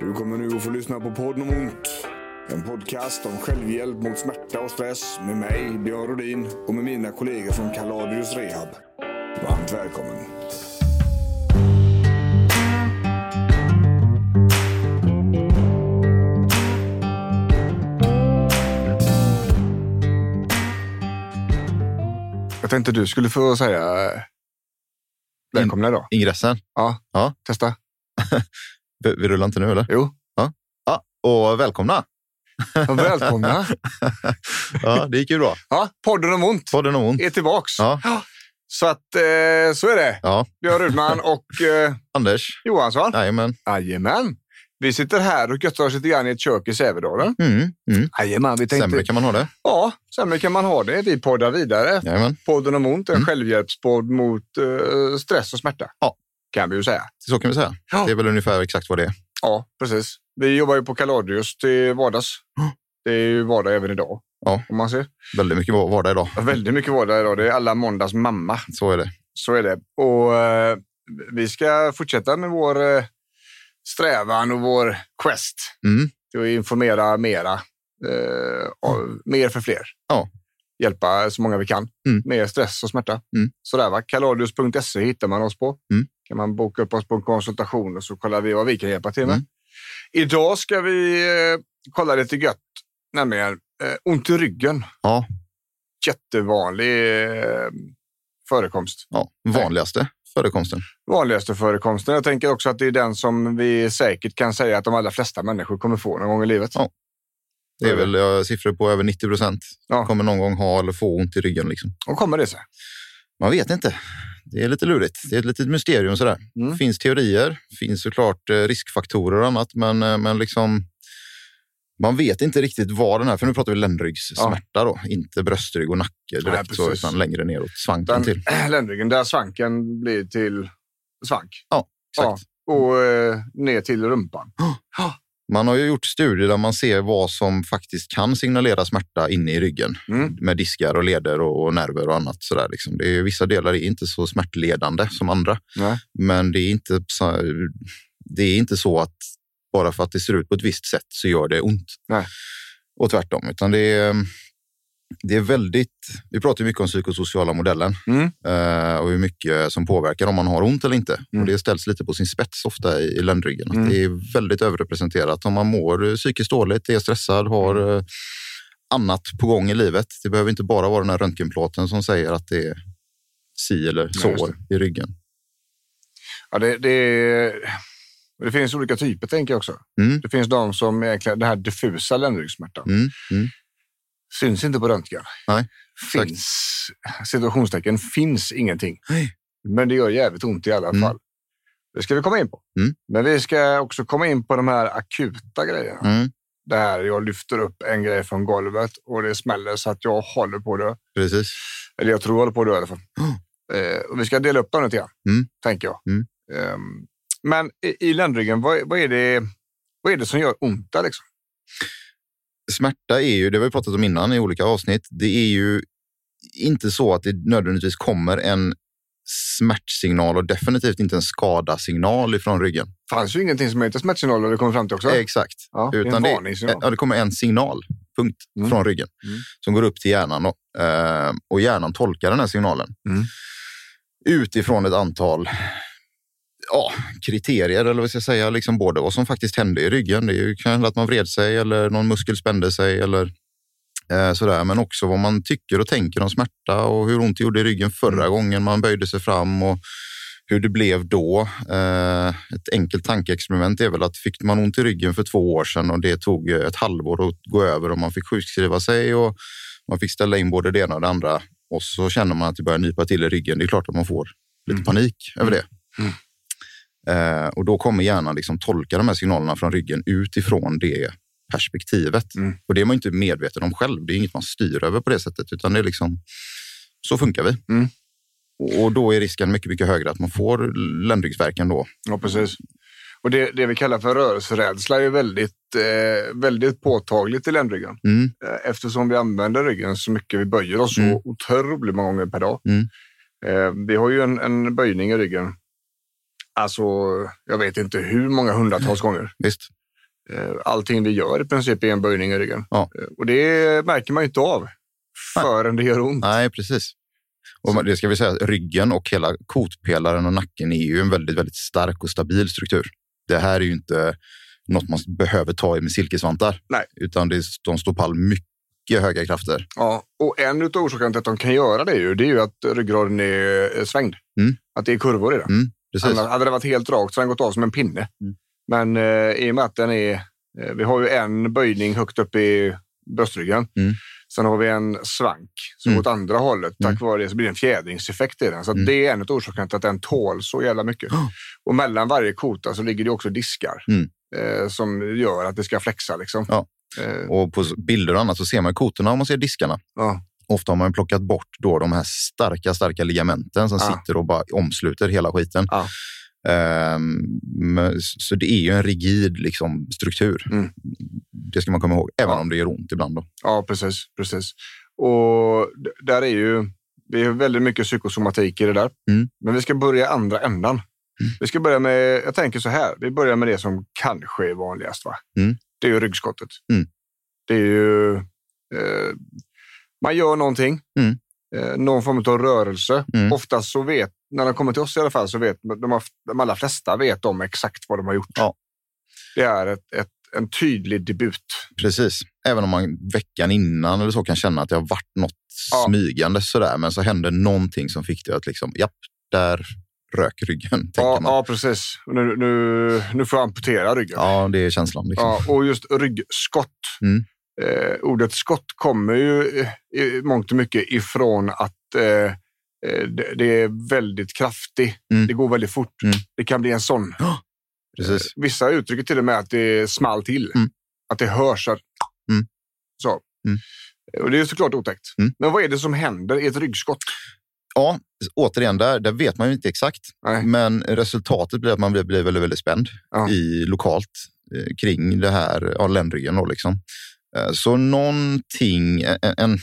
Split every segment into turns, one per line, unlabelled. Du kommer nu att få lyssna på podden om ont. En podcast om självhjälp mot smärta och stress med mig, Björn Rhodin och med mina kollegor från Kaladius Rehab. Varmt välkommen.
Jag tänkte du skulle få säga eh, välkomna idag.
ingressen.
Ja,
Ja.
testa.
Vi, vi rullar inte nu eller?
Jo.
Ja, och välkomna.
Ja, välkomna.
Ja, det gick ju bra.
Ja, podden om ont
Var det någon ont?
är tillbaks.
Ja.
Så att eh, så är det.
Ja,
Björn Rudman och eh,
Anders.
Johansson.
Jajamän.
Jajamän. Vi sitter här och göttar oss lite grann i ett kök i Sävedalen.
Mm, mm.
Jajamän, vi tänkte...
Sämre kan man ha det.
Ja, sämre kan man ha det. Vi poddar vidare.
Jajamän.
Podden om ont är en
Mm.
självhjälpspodd mot eh, stress och smärta.
Ja.
Kan vi ju säga.
Så kan vi säga.
Ja.
Det är väl ungefär exakt vad det är.
Ja, precis. Vi jobbar ju på Kaladius till vardags. Det är ju vardag även idag.
Ja.
Om man ser.
Väldigt mycket var- vardag idag.
Ja, Väldigt mycket vardag idag. Det är alla måndags mamma.
Så är det.
Så är det. Och eh, vi ska fortsätta med vår eh, strävan och vår quest.
Mm.
Till att informera mera. Eh, av, mer för fler.
Ja.
Hjälpa så många vi kan
Mm.
med stress och smärta.
Mm.
Sådär va. Kaladius.se hittar man oss på.
Mm.
kan man boka upp oss på en konsultation och så kollar vi vad vi kan hjälpa till med.
Mm.
Idag ska vi eh, kolla lite gött, nämligen eh, ont i ryggen.
Ja.
Jättevanlig eh, förekomst.
Ja. Vanligaste förekomsten.
Vanligaste förekomsten. Jag tänker också att det är den som vi säkert kan säga att de allra flesta människor kommer få någon gång i livet.
Ja. Det är väl eh, siffror på över 90 procent.
Ja.
Kommer någon gång ha eller få ont i ryggen. Liksom.
Och kommer det sig.
Man vet inte. Det är lite lurigt. Det är ett litet mysterium. Sådär.
Mm.
finns teorier, finns såklart eh, riskfaktorer och annat, men, eh, men liksom, man vet inte riktigt vad den här... För nu pratar vi ländryggssmärta, då, inte bröstrygg och nacke direkt,
precis.
så, utan längre neråt, svanken
Den
till.
ländryggen där svanken blir till svank
Exakt.
och eh, ner till rumpan.
Man har ju gjort studier där man ser vad som faktiskt kan signalera smärta inne i ryggen
Mm.
med diskar och leder och, och nerver och annat. Sådär, liksom. det är, ju- vissa delar är inte så smärtledande som andra,
Nej.
men det är, inte så, det är inte så att bara för att det ser ut på ett visst sätt så gör det ont.
Nej.
Och tvärtom, utan det är, det är väldigt... Vi pratar ju mycket om psykosociala modellen
Mm.
eh, och hur mycket som påverkar om man har ont eller inte.
Mm.
Och det ställs lite på sin spets ofta i, i ländryggen. Att
Mm.
Det är väldigt överrepresenterat. Om man mår eh, psykiskt dåligt, är stressad,
Mm.
har eh, annat på gång i livet. Det behöver inte bara vara den här röntgenplåten som säger att det är si eller
Nej, just
så i ryggen.
Ja, det, det, det finns olika typer, tänker jag också.
Mm.
Det finns de som egentligen, den här diffusa ländryggsmärtan,
Mm. Mm.
syns inte på röntgen.
Nej, exakt.
finns, situationstecken finns ingenting.
Nej.
Men det gör jävligt ont i alla
Mm.
fall. Det ska vi komma in på.
Mm.
Men vi ska också komma in på de här akuta grejerna.
Mm.
Där jag lyfter upp en grej från golvet och det smäller så att jag håller på att dö.
Precis.
Eller jag tror jag håller på att dö i alla fall.
Ja.
Eh, och vi ska dela upp dem lite grann,
Mm.
tänker jag.
Mm.
Ehm, men i, i ländryggen, vad, vad, är det, vad är det som gör ont där? Liksom?
smärta är ju, det har vi pratat om innan i olika avsnitt, det är ju inte så att det nödvändigtvis kommer en smärtsignal och definitivt inte en skadasignal ifrån ryggen.
Det fanns ju ingenting som heter smärtsignal och det kom fram till också.
Exakt.
ja, det är en
Utan Eh, det,
varningssignal.
ja, det kommer en signal. punkt
Mm.
från ryggen
Mm.
som går upp till hjärnan. Då. Eh, och hjärnan tolkar den här signalen
Mm.
utifrån ett antal ja, kriterier, eller vad ska jag säga, liksom både vad som faktiskt hände i ryggen. Det är ju kanske att man vred sig eller någon muskel spände sig eller eh, sådär, men också vad man tycker och tänker om smärta och hur ont det gjorde i ryggen förra
Mm.
gången man böjde sig fram och hur det blev då. Eh, ett enkelt tankeexperiment är väl att fick man ont i ryggen för två år sedan och det tog eh, ett halvår att gå över och man fick sjukskriva sig och man fick ställa in både det ena och det andra och så känner man att det börjar nypa till i ryggen. Det är klart att man får lite panik över det. Eh, och då kommer hjärnan liksom tolka de här signalerna från ryggen utifrån det perspektivet.
Mm.
Och det är man ju inte medveten om själv. Det är inget man styr över på det sättet, utan det är liksom så funkar vi.
Mm.
Och- Och då är risken mycket, mycket högre att man får ländryggsvärken då.
Ja, precis. Och det, det vi kallar för rörelserädsla är ju väldigt, eh, väldigt påtagligt i ländryggen.
Mm.
Eh, Eftersom vi använder ryggen så mycket, vi böjer oss
Mm.
så otroligt många gånger per dag.
Mm.
Eh, vi har ju en, en böjning i ryggen. Alltså, jag vet inte hur många hundratals gånger.
Visst?
Eh, allting vi gör i princip är en böjning i ryggen.
Ja.
Eh, och det märker man ju inte av förrän det gör ont.
Nej, precis. Och man- det ska vi säga, att ryggen och hela kotpelaren och nacken är ju en väldigt, väldigt stark och stabil struktur. Det här är ju inte något man behöver ta i med silkesvantar.
Nej.
Utan det, är- de står pall mycket höga krafter.
Ja, och en av orsakerna till att de kan göra det, är ju, det är ju att ryggraden är eh, svängd.
Mm.
Att det är kurvor i den.
Precis.
Annars hade det varit helt rakt så hade den gått av som en pinne.
Mm.
Men eh, i och med att den är... Eh, vi har ju en böjning högt upp i bröstryggen.
Mm.
Sen har vi en svank som
Mm.
går åt andra hållet. Tack
Mm.
vare det så blir det en fjädringseffekt i den. Så att
Mm.
det är en av orsakerna till att den tål så jävla mycket.
Ja.
Och mellan varje kota så ligger det också diskar
Mm.
eh, som gör att det ska flexa. Liksom.
Ja.
Eh,
Och på s- bilder och annat så ser man kotorna och man ser diskarna.
ja.
Ofta har man plockat bort då de här starka, starka ligamenten som
Ja.
sitter och bara omsluter hela skiten.
Ja.
Ehm, men s- så det är ju en rigid liksom, struktur.
Mm.
Det ska man komma ihåg, även
Ja.
om det gör ont ibland. Då.
ja, precis. precis. Och d- där är ju... Det är väldigt mycket psykosomatik i det där.
Mm.
Men vi ska börja i andra ändan. Vi ska börja med, jag tänker så här, vi börjar med det som kanske är vanligast. Va?
Mm.
Det är ju ryggskottet.
Mm.
Det är ju, eh, man gör någonting,
Mm.
eh, någon form av rörelse.
Mm.
Oftast så vet, när de kommer till oss i alla fall, så vet de, of- de allra flesta vet om exakt vad de har gjort.
Ja.
Det är ett, ett, en tydlig debut.
Precis. Även om man veckan innan eller så kan känna att det har varit något
Ja.
smygande sådär, men så hände någonting som fick det att liksom, japp, där rök ryggen. Tänker
Ja,
man.
ja, precis. Och Nu, nu, nu får jag amputera ryggen.
Ja, det är känslan. Liksom.
Ja, och just ryggskott.
Mm.
Eh, ordet skott kommer ju eh, i mångt och mycket ifrån att eh, eh, det, det är väldigt kraftigt.
Mm.
Det går väldigt fort.
Mm.
Det kan bli en sån.
Precis.
Vissa uttrycker till och med att det small till.
Mm.
Att det hörs. Att,
Mm.
Så.
Mm.
Och det är ju såklart otäckt.
Mm.
Men vad är det som händer i ett ryggskott?
Ja, återigen, där, där vet man ju inte exakt.
Nej.
Men resultatet blir att man blir, blir väldigt, väldigt spänd
Ja.
i, lokalt eh, kring det här, ja, ländryggen. Då, liksom. Eh, Så någonting, en, en,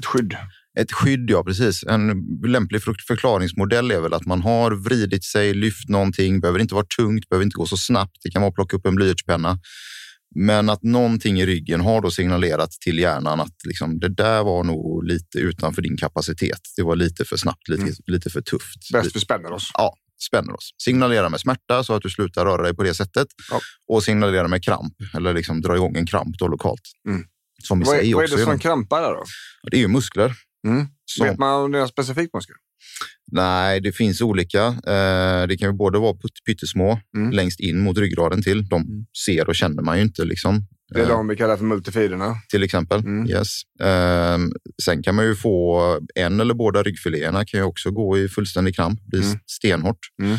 Ett skydd.
ett skydd, ja precis. En lämplig för- förklaringsmodell är väl att man har vridit sig, lyft någonting, behöver inte vara tungt, behöver inte gå så snabbt. Det kan vara att plocka upp en blyertspenna. Men att någonting i ryggen har då signalerat till hjärnan att liksom, det där var nog lite utanför din kapacitet. Det var lite för snabbt, lite,
Mm.
lite för tufft.
Bäst vi spänner oss.
Ja, spänner oss. Signalera med smärta så att du slutar röra dig på det sättet.
Ja.
Och signalera med kramp, eller liksom dra igång en kramp då lokalt.
Mm.
Som i
Vad
sig
är, vad är
också.
det
är
som
en-
krampar där då?
det är ju muskler.
Mm.
Som,
Vet man om det är en specifik muskel?
Nej, det finns olika. Eh, det kan ju både vara pytt- pyttesmå
Mm.
längst in mot ryggraden till. De ser och känner man ju inte liksom.
Det är
Eh,
de vi kallar för multifiderna.
Till exempel.
Mm.
Yes. Ehm, sen kan man ju få en eller båda ryggfiléerna kan ju också gå i fullständig kramp, bli
Mm.
stenhårt.
Mm.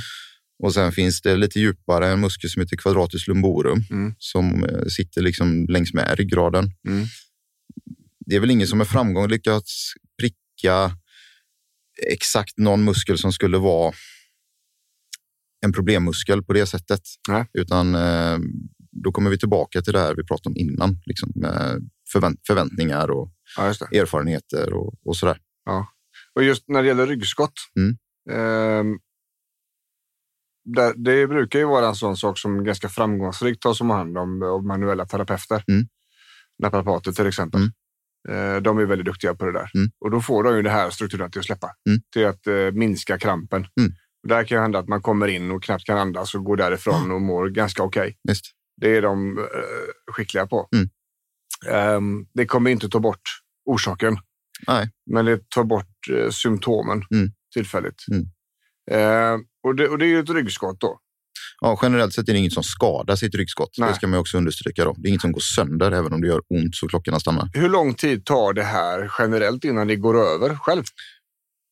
Och sen finns det lite djupare en muskel som heter quadratus lumborum
Mm.
som eh, sitter liksom längs med ryggraden.
Mm.
Det är väl ingen som med framgång lyckats pricka exakt någon muskel som skulle vara en problemmuskel på det sättet.
Nej.
Utan eh, då kommer vi tillbaka till det här vi pratade om innan, liksom med förvänt- förväntningar och
Ja, just det.
erfarenheter och, och sådär.
Och just när det gäller ryggskott.
Mm.
ehm, där, det brukar ju vara en sån sak som ganska framgångsrikt tas om hand om av manuella terapeuter.
Mm.
naprapater till exempel.
Mm.
Eh, De är väldigt duktiga på det där.
Mm.
Och då får de ju det här strukturen till att släppa,
Mm.
till att eh, minska krampen.
Mm.
Och Där kan ju hända att man kommer in och knappt kan andas och går därifrån
Ah.
och mår ganska okej.
Visst.
Det är de eh, skickliga på.
Mm.
Ehm, det kommer inte ta bort orsaken.
Nej.
Men det tar bort eh, symptomen
Mm.
tillfälligt.
Mm.
Ehm, och, det, och det är ju ett ryggskott då.
Ja, generellt sett är det inget som skadar sitt ryggskott.
Nej.
Det ska man ju också understryka. Då. Det är inget som går sönder, även om det gör ont så klockorna stannar.
Hur lång tid tar det här generellt innan det går över själv?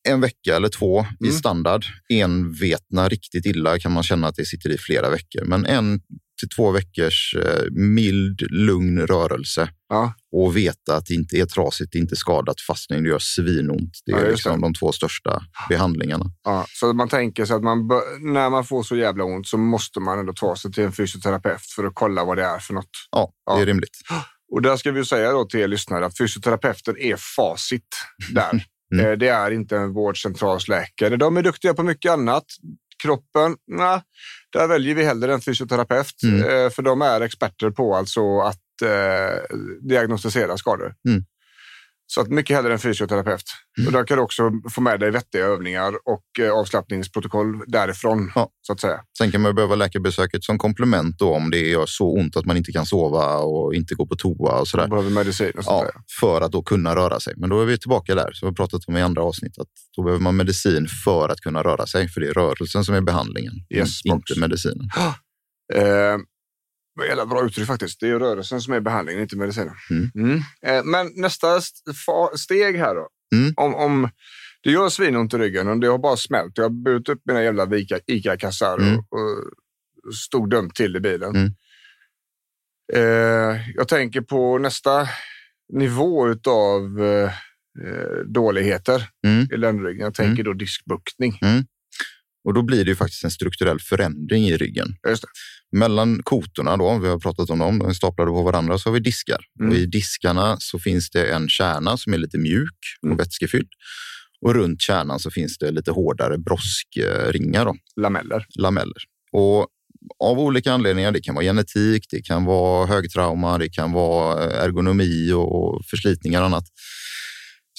En vecka eller två i
Mm.
standard. Envetna riktigt illa kan man känna att det sitter i flera veckor. Men en till två veckors eh, mild, lugn rörelse
Ja.
och veta att det inte är trasigt, det är inte skadat, fastning, det gör svinont. Det
Ja,
är
just
liksom
det.
de två största behandlingarna.
Ja, så man tänker sig att man bör, när man får så jävla ont så måste man ändå ta sig till en fysioterapeut för att kolla vad det är för något.
Ja, det
Ja.
är rimligt.
Och där ska vi ju säga då till er lyssnare att fysioterapeuten är facit där.
Mm.
Eh, Det är inte en vårdcentralsläkare. De är duktiga på mycket annat. Kroppen, nej, där väljer vi hellre en fysioterapeut.
Mm.
eh, För de är experter på alltså att eh, diagnostisera skador.
Mm.
Så att mycket hellre en fysioterapeut. Och där kan du också få med dig vettiga övningar och eh, avslappningsprotokoll därifrån.
Ja.
Så att säga.
Sen kan man ju behöva läkarbesöket som komplement då, om det gör så ont att man inte kan sova och inte gå på toa och sådär.
Du behöver medicin och sånt
Ja,
där.
för att då kunna röra sig. Men då är vi tillbaka där, som vi har pratat om i andra avsnitt, att då behöver man medicin för att kunna röra sig, för det är rörelsen som är behandlingen,
Yes,
in-
box.
inte medicinen.
Eh, vad jävla bra uttryck faktiskt. Det är ju rörelsen som är behandlingen, inte medicinen.
Mm.
Eh, men nästa st- fa- steg här då.
Mm.
Om, om det gör svinont i ryggen och det har bara smält. Jag har burit upp mina jävla Ica- ICA-kassar
Mm.
och, och stod dumt till i bilen.
Mm.
Eh, jag tänker på nästa nivå utav eh, eh, dåligheter
Mm.
i ländryggen. Jag tänker då diskbuktning.
Och då blir det ju faktiskt en strukturell förändring i ryggen.
Just det.
Mellan kotorna då, vi har pratat om dem, de är staplade på varandra, så har vi diskar.
Mm.
Och I diskarna så finns det en kärna som är lite mjuk och
Mm.
vätskefylld. Och runt kärnan så finns det lite hårdare broskringar. Då.
Lameller.
lameller. Och av olika anledningar, det kan vara genetik, det kan vara högtrauma, det kan vara eh, ergonomi och förslitningar och annat,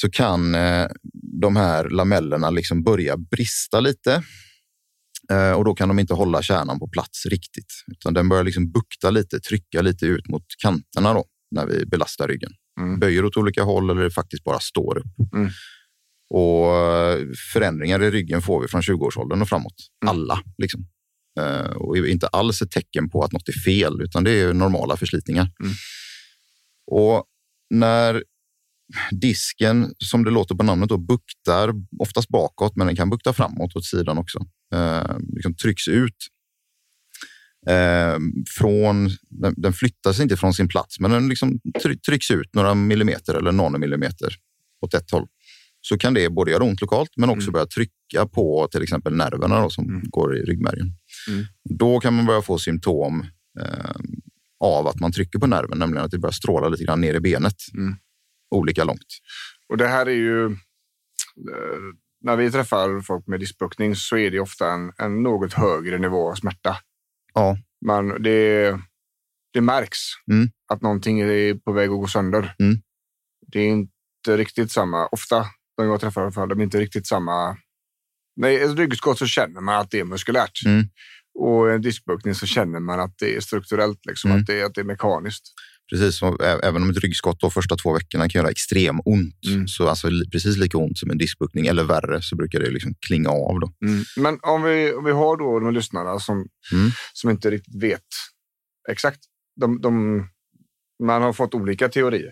så kan eh, de här lamellerna liksom börja brista lite. Eh, Och då kan de inte hålla kärnan på plats riktigt, utan den börjar liksom bukta lite, trycka lite ut mot kanterna då, när vi belastar ryggen.
Mm.
Böjer åt olika håll eller faktiskt bara står upp.
Mm.
Och eh, förändringar i ryggen får vi från 20-årsåldern och framåt.
Mm.
Alla liksom. Eh, och är inte alls ett tecken på att något är fel, utan det är ju normala förslitningar.
Mm.
Och när disken, som det låter på namnet, då, buktar, oftast bakåt, men den kan bukta framåt åt sidan också, eh, liksom trycks ut. Eh, från, den, den flyttar sig inte från sin plats, men den liksom try- trycks ut några millimeter eller nanomillimeter åt ett håll. Så kan det både göra ont lokalt, men också
Mm.
börja trycka på till exempel nerverna då, som
Mm.
går i ryggmärgen.
Mm.
Då kan man börja få symptom eh, av att man trycker på nerven, nämligen att det börjar stråla lite grann ner i benet.
Mm.
Olika långt.
Och det här är ju... eh, När vi träffar folk med diskbuktning så är det ofta en, en något högre nivå av smärta.
Ja.
Man, det, det märks
Mm.
att någonting är på väg att gå sönder.
Mm.
Det är inte riktigt samma... Ofta, de jag träffar i alla fall, de är inte riktigt samma... Nej, ett ryggskott så känner man att det är muskulärt.
Mm.
Och en diskbuktning så känner man att det är strukturellt, liksom,
Mm.
att, det, att det är mekaniskt.
Precis som, ä- även om ett ryggskott de första två veckorna kan göra extrem ont,
Mm.
så alltså li- precis lika ont som en diskbuktning eller värre, så brukar det liksom klinga av. Då.
Men om vi, om vi har då de lyssnarna som,
Mm.
som inte riktigt vet exakt. De, de, man har fått olika teorier.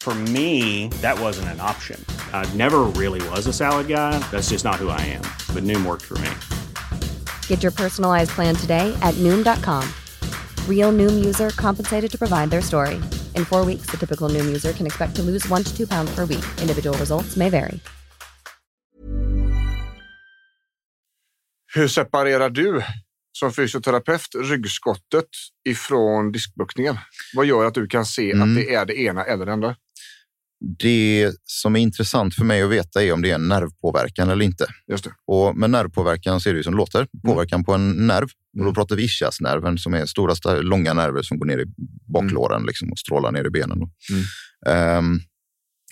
For me, that wasn't an option. I never really was a salad guy. That's just not who I am. But Noom worked for me.
Get your personalized plan today at Noom.com. Real Noom user compensated to provide their story. In four weeks, the typical Noom user can expect to lose one to two pounds per week. Individual results may vary.
Hur separerar du som fysioterapeut ryggskottet ifrån diskbuktningen? Vad gör att du kan se
Mm.
att det är det ena eller det andra?
Det som är intressant för mig att veta är om det är en nervpåverkan eller inte.
Just det.
Och med nervpåverkan så är det ju som det låter.
Mm.
Påverkan på en nerv. Och då pratar vi ischiasnerven som är stora, sta- långa nerver som går ner i baklåren liksom, och strålar ner i benen. då.
Mm.
Ehm,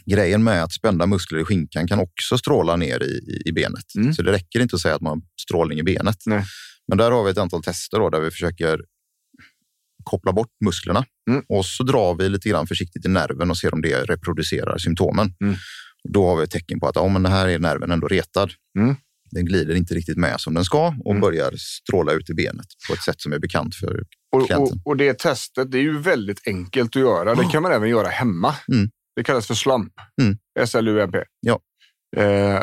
grejen med att spända muskler i skinkan kan också stråla ner i, i, i benet.
Mm.
Så det räcker inte att säga att man har strålning i benet.
Nej.
Men där har vi ett antal tester då, där vi försöker koppla bort musklerna
Mm.
och så drar vi lite grann försiktigt i nerven och ser om det reproducerar symptomen.
Mm.
Då har vi ett tecken på att ja, men det här är nerven ändå retad den glider inte riktigt med som den ska och
Mm.
börjar stråla ut i benet på ett sätt som är bekant för
Och, och,
Klienten.
och det testet det är ju väldigt enkelt att göra. Det kan man även göra hemma.
Ah. Mm.
Det kallas för SLAMP.
Mm.
SLUMP.
Ja.
Eh,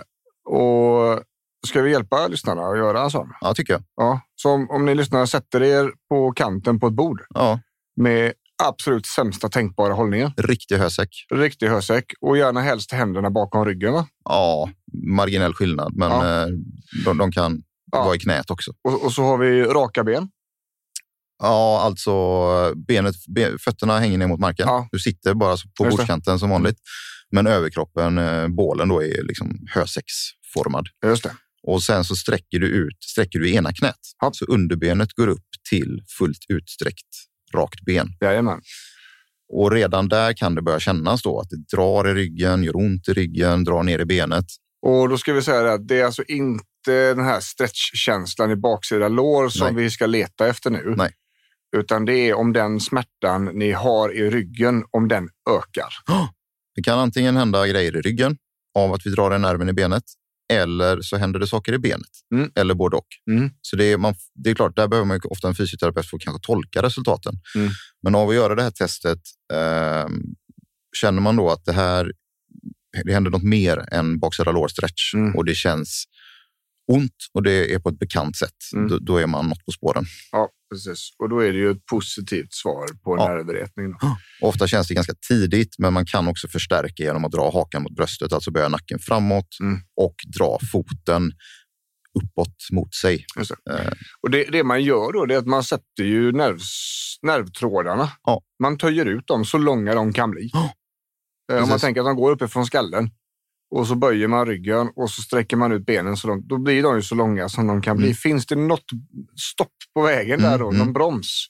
och ska vi hjälpa lyssnarna att göra en sån?
Ja, tycker jag.
Ja. Så om, om ni lyssnare sätter er på kanten på ett bord
Ja,
med absolut sämsta tänkbara hållningen.
riktig hösäck.
Riktig hösäck och gärna helst händerna bakom ryggen. Va?
Ja, marginell skillnad, men
Ja.
eh, de, de kan
Ja.
vara i knät också.
Och, och så har vi raka ben.
Ja, alltså benet, be, fötterna hänger ner mot marken.
Ja.
Du sitter bara på
Just det.
bordskanten som vanligt. Men överkroppen, eh, bålen då är liksom hösäcksformad.
Just det.
Och sen så sträcker du ut, sträcker du i ena knät.
Ja.
Så underbenet går upp till fullt utsträckt rakt ben.
Jajamän.
Och redan där kan det börja kännas då att det drar i ryggen, gör ont i ryggen, drar ner i benet.
Och då ska vi säga det att det är alltså inte den här stretchkänslan i baksida lår som vi ska leta efter nu.
Nej.
Utan det är om den smärtan ni har i ryggen, om den ökar.
Det kan antingen hända grejer i ryggen av att vi drar i nerven i benet eller så händer det saker i benet
Mm.
eller både och.
Mm.
Så det är, man, det är klart, där behöver man ju ofta en fysioterapeut för att kanske tolka resultaten.
Mm.
Men av att göra det här testet eh, känner man då att det här det händer något mer än baksida lårstretch
Mm.
och det känns ont och det är på ett bekant sätt.
Mm.
Då, då är man något på spåren.
Ja, precis. Och då är det ju ett positivt svar på
Ja.
nervretning. Då.
Ofta känns det ganska tidigt, men man kan också förstärka genom att dra hakan mot bröstet, alltså böja nacken framåt
Mm.
och dra foten uppåt mot sig.
Just det.
Eh.
Och det, det man gör då det är att man sätter ju nervs, nervtrådarna.
Ja.
Man töjer ut dem så långa de kan bli.
Ja.
Eh, Om man
Precis.
tänker att de går uppifrån skallen och så böjer man ryggen och så sträcker man ut benen så långt. Då blir de ju så långa som de kan bli.
Mm.
Finns det något stopp på vägen
Mm,
där då, någon
mm.
broms,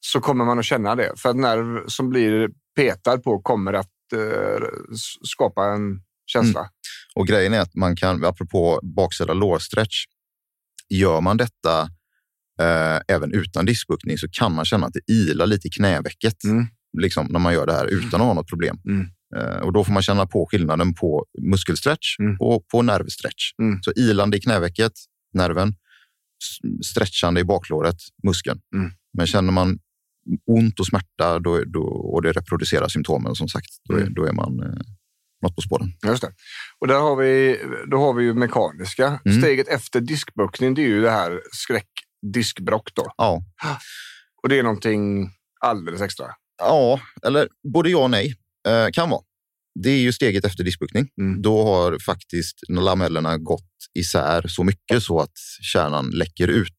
så kommer man att känna det. För att nerv som blir petad på kommer att eh, s- skapa en
Mm.
känsla.
Och grejen är att man kan, apropå baksida lårstretch, gör man detta eh, även utan diskbuktning så kan man känna att det ilar lite i knävecket
Mm.
liksom, när man gör det här utan att ha något problem.
Mm.
Eh, och då får man känna på skillnaden på muskelstretch
Mm.
och på nervstretch.
Mm.
Så ilande i knävecket, nerven, s- stretchande i baklåret, muskeln.
Mm.
Men känner man ont och smärta då, då, och det reproducerar symptomen som sagt, då, är
Mm.
då är man eh, något på spåren.
Just det. Och där har vi, då har vi ju mekaniska.
Mm.
Steget efter diskbuktning, det är ju det här skräckdiskbrock då.
Ja.
Och det är någonting alldeles extra.
Ja, eller både ja och nej. Eh, kan vara. Det är ju steget efter diskbuktning.
Mm.
Då har faktiskt lamellerna gått isär så mycket så att kärnan läcker ut.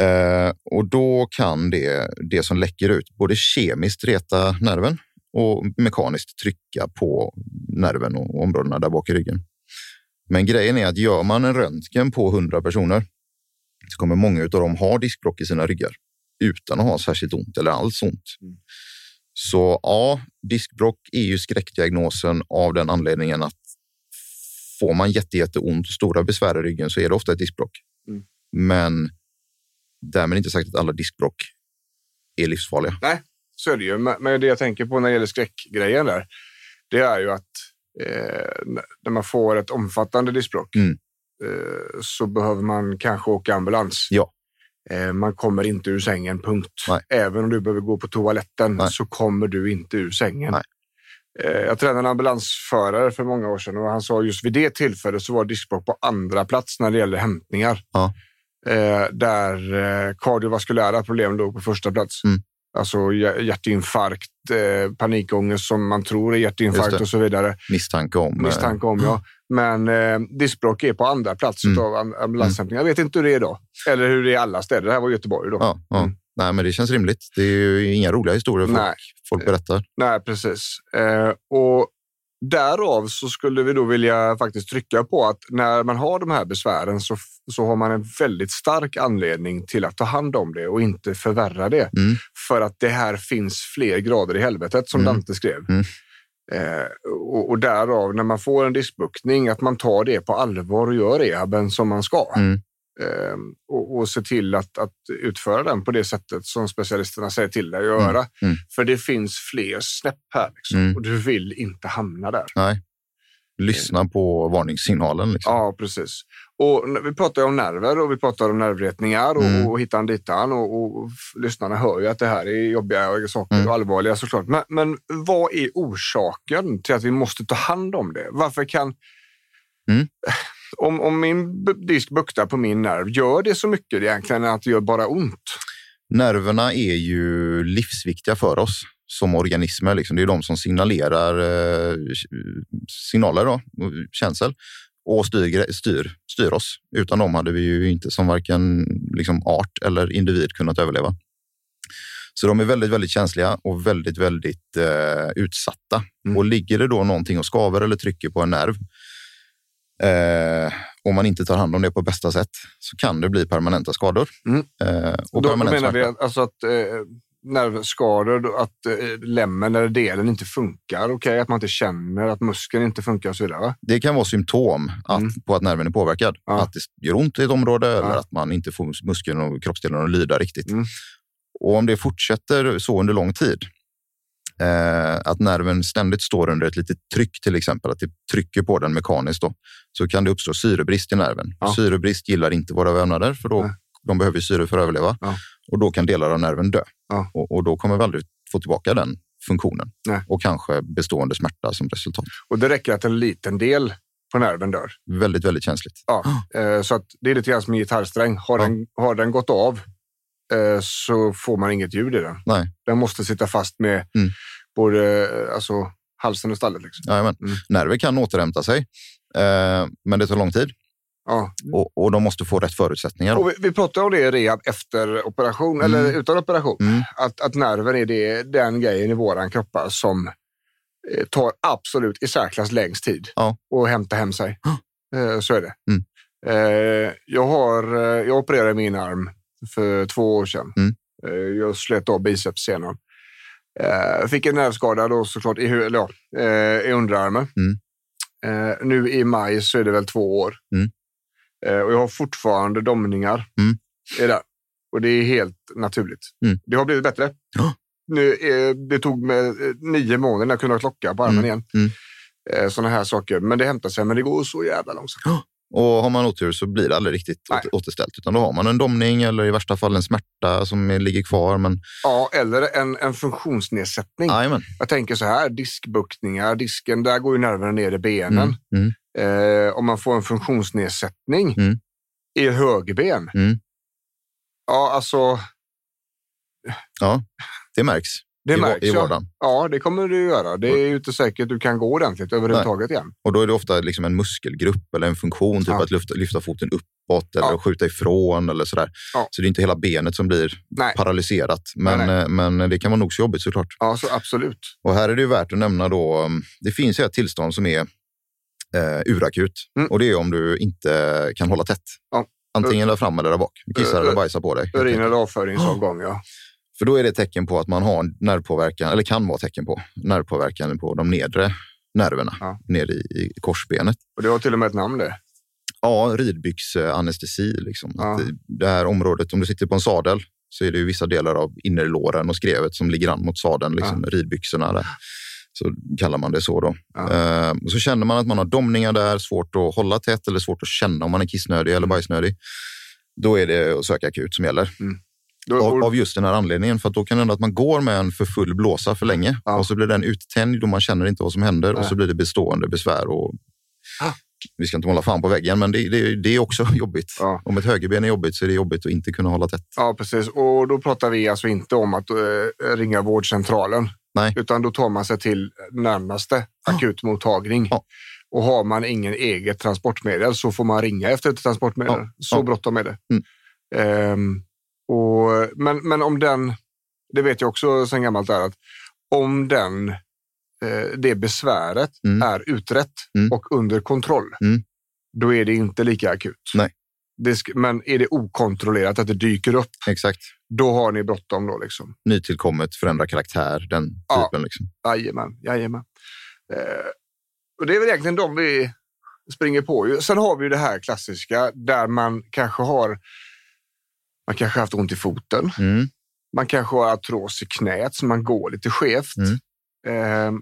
Eh, och då kan det, det som läcker ut både kemiskt reta nerven och mekaniskt trycka på nerven och områdena där bak i ryggen. Men grejen är att gör man en röntgen på 100 personer så kommer många av dem ha diskbråck i sina ryggar utan att ha särskilt ont eller alls ont. Så ja, diskbråck är ju skräckdiagnosen av den anledningen att får man jätte, jätteont och stora besvär i ryggen så är det ofta ett diskbråck.
Mm.
Men därmed inte sagt att alla diskbråck är livsfarliga.
Så är det ju. Men men det jag tänker på när det gäller skräckgrejen där, det är ju att eh, när man får ett omfattande diskbråck
Mm.
eh, så behöver man kanske åka ambulans.
Ja.
Eh, man kommer inte ur sängen, punkt.
Nej.
Även om du behöver gå på toaletten
Nej.
så kommer du inte ur sängen.
Nej.
Eh, Jag tränade en ambulansförare för många år sedan och han sa just vid det tillfället så var diskbråck på andra plats när det gäller hämtningar.
Ja.
Eh, Där eh, kardiovaskulära problem låg på första plats.
Mm.
Alltså hjär- hjärtinfarkt, eh, panikångest som man tror är hjärtinfarkt
Just det.
och så vidare.
Misstanke om. eh,
Misstanke om, ja. Men eh, diskbråck är på andra plats
Mm.
utav am- ambulanshämtning. Jag vet inte hur det är idag. Eller hur det är i alla städer. Det här var Göteborg då.
Ja, ja.
Mm.
Nej, men det känns rimligt. Det är ju inga roliga historier folk,
Nej.
folk berättar.
Nej, precis. Eh, och därav så skulle vi då vilja faktiskt trycka på att när man har de här besvären så, så har man en väldigt stark anledning till att ta hand om det och inte förvärra det.
Mm.
För att det här finns fler grader i helvetet som
Mm.
Dante skrev.
Mm.
Eh, och, och därav, när man får en diskbuktning, att man tar det på allvar och gör rehaben som man ska.
Mm.
Eh, och, och se till att, att utföra den på det sättet som specialisterna säger till dig att göra.
Mm. Mm.
För det finns fler snäpp här liksom,
Mm.
och du vill inte hamna där.
Lyssna på varningssignalen. Liksom.
Ja, precis. Och n- vi pratar ju om nerver och vi pratar om nervretningar och,
Mm.
och hittan ditan och, och f- lyssnarna hör ju att det här är jobbiga saker
Mm.
och allvarliga såklart. Men, men vad är orsaken till att vi måste ta hand om det? Varför kan...
Mm.
Om, om min b- disk buktar på min nerv, gör det så mycket egentligen att det gör bara ont?
Nerverna är ju livsviktiga för oss som organismer. Liksom. Det är de som signalerar eh, signaler, då, och känsel, och styr, styr, styr oss. Utan dem hade vi ju inte som varken liksom, art eller individ kunnat överleva. Så de är väldigt, väldigt känsliga och väldigt, väldigt eh, utsatta.
Mm.
Och ligger det då någonting och skaver eller trycker på en nerv eh, om man inte tar hand om det på bästa sätt så kan det bli permanenta skador.
Mm.
Eh,
Och
och
då, då
permanent
menar
smärta.
vi att, alltså att eh, nervskador, då att eh, lämmen eller delen inte funkar. Okej, att man inte känner, att muskeln inte funkar och så vidare. va?
Det kan vara symptom att,
Mm.
på att nerven är påverkad.
Ja.
Att det gör ont i ett område eller
Ja.
att man inte får muskeln och kroppsdelen att lyda riktigt.
Mm.
Och om det fortsätter så under lång tid, eh, att nerven ständigt står under ett litet tryck till exempel, att det trycker på den mekaniskt, då, så kan det uppstå syrebrist i nerven.
Ja.
Syrebrist gillar inte våra vävnader för då
Nej.
de behöver ju syre för att överleva
Ja.
och då kan delar av nerven dö.
Ja.
Och, och då kommer vi aldrig få tillbaka den funktionen
Nej.
och kanske bestående smärta som resultat.
Och det räcker att en liten del på nerven dör.
Väldigt, väldigt känsligt.
Ja. Eh, så att det är lite grann som en gitarrsträng. Har,
Ah. Ja.
den, har den gått av eh, så får man inget ljud i den.
Nej.
Den måste sitta fast med
Mm.
både eh, alltså, halsen och stallet. Liksom.
Jajamän.
Mm.
Nerver kan återhämta sig, eh, men det tar lång tid
Ja.
och, och de måste få rätt förutsättningar.
Och vi, vi pratade om det i rehab efter operation,
Mm.
eller utan operation.
Mm.
att, att nerven är det, den grejen i våran kroppar som eh, tar absolut i särklass längst tid
Ja.
att hämta hem sig. Eh, så är det.
Mm.
Eh, jag, har, eh, jag opererade min arm för två år sedan.
Mm.
Eh, jag slet av bicepssenan. Eh, fick en nervskada då såklart i, hu- eller, ja, eh, i underarmen.
Mm.
Eh, nu i maj så är det väl två år.
Mm.
Eh, och jag har fortfarande domningar.
Mm.
i det. Och det är helt naturligt.
Mm.
Det har blivit bättre.
Ja.
Nu, eh, det tog mig eh, nio månader när jag kunde ha klocka på armen
Mm,
igen.
mm.
Eh, Sådana här saker. Men det hämtar sig. Men det går så jävla långsamt.
Och har man otur så blir det aldrig riktigt
Nej.
åter- återställt, utan då har man en domning eller i värsta fall en smärta som är- ligger kvar. Men,
Ja, eller en, en funktionsnedsättning.
Jajamän.
Jag tänker så här, diskbuktningar. Disken, där går ju nerverna ner i benen.
Mm. Mm.
Eh, om man får en funktionsnedsättning
Mm.
i högerben.
Mm.
Ja, alltså.
Det märks,
Det
i, va-
märks
i
ju.
vardagen.
Ja, det kommer du göra. Det är ju inte säkert du kan gå ordentligt överhuvudtaget igen.
Och då är det ofta liksom en muskelgrupp eller en funktion, typ
Ja.
att lyfta, lyfta foten uppåt eller
Ja.
skjuta ifrån eller sådär.
Ja.
Så det är inte hela benet som blir
Nej.
paralyserat. Men,
Nej,
eh, men det kan vara nog så jobbigt såklart.
Ja, så alltså, absolut.
Och här är det ju värt att nämna då, um, det finns ju ett tillstånd som är eh, urakut
Mm.
och det är om du inte kan hålla tätt.
Ja.
Antingen där fram eller där bak. Kissar
Ö-
eller
ö-
bajsar på dig.
Urin eller avföringsavgång, ja.
För då är det ett tecken på att man har nervpåverkan, eller kan vara tecken på, nervpåverkan på de nedre nerverna,
Ja.
nere i, i korsbenet.
Och det har till och med ett namn det.
Ja, ridbyxanestesi. Liksom.
Ja.
Att det- Det här området, om du sitter på en sadel så är det ju vissa delar av innerlåren och skrevet som ligger an mot sadeln, liksom, ridbyxorna. Där. Så kallar man det så. Då.
Ja.
Eh, och så känner man att man har domningar där, svårt att hålla tätt eller svårt att känna om man är kissnödig
Mm.
eller bajsnödig. Då är det att söka akut som gäller.
Då,
Av,
och,
av just den här anledningen, för att då kan det hända att man går med en för full blåsa för länge
Ja.
och så blir den uttänd och man känner inte vad som händer och
Nej.
så blir det bestående besvär och
Ah.
vi ska inte måla fan på väggen, men det, det, det är också jobbigt.
Ja.
Om ett högerben är jobbigt så är det jobbigt att inte kunna hålla tätt.
Ja, precis. Och då pratar vi alltså inte om att eh, ringa vårdcentralen.
Nej.
Utan då tar man sig till närmaste akutmottagning.
Ja.
Och har man ingen eget transportmedel så får man ringa efter ett transportmedel.
Ja.
Så
Ja.
bråttom är det.
Mm.
Ehm, och, men, men om den, det vet jag också sen gammalt där, att om den, eh, det besväret
Mm.
är utrett
Mm.
och under kontroll,
Mm.
då är det inte lika akut.
Nej.
Det sk- men är det okontrollerat att det dyker upp,
Exakt.
då har ni bråttom då liksom.
Nytillkommet, förändra karaktär, den
Ja.
typen. Liksom.
Jajamän, jajamän. Eh, och det är väl egentligen de vi springer på. ju. Sen har vi ju det här klassiska där man kanske har man kanske haft ont i foten.
Mm.
Man kanske har artros i knät så man går lite skevt.
Mm.
Ehm,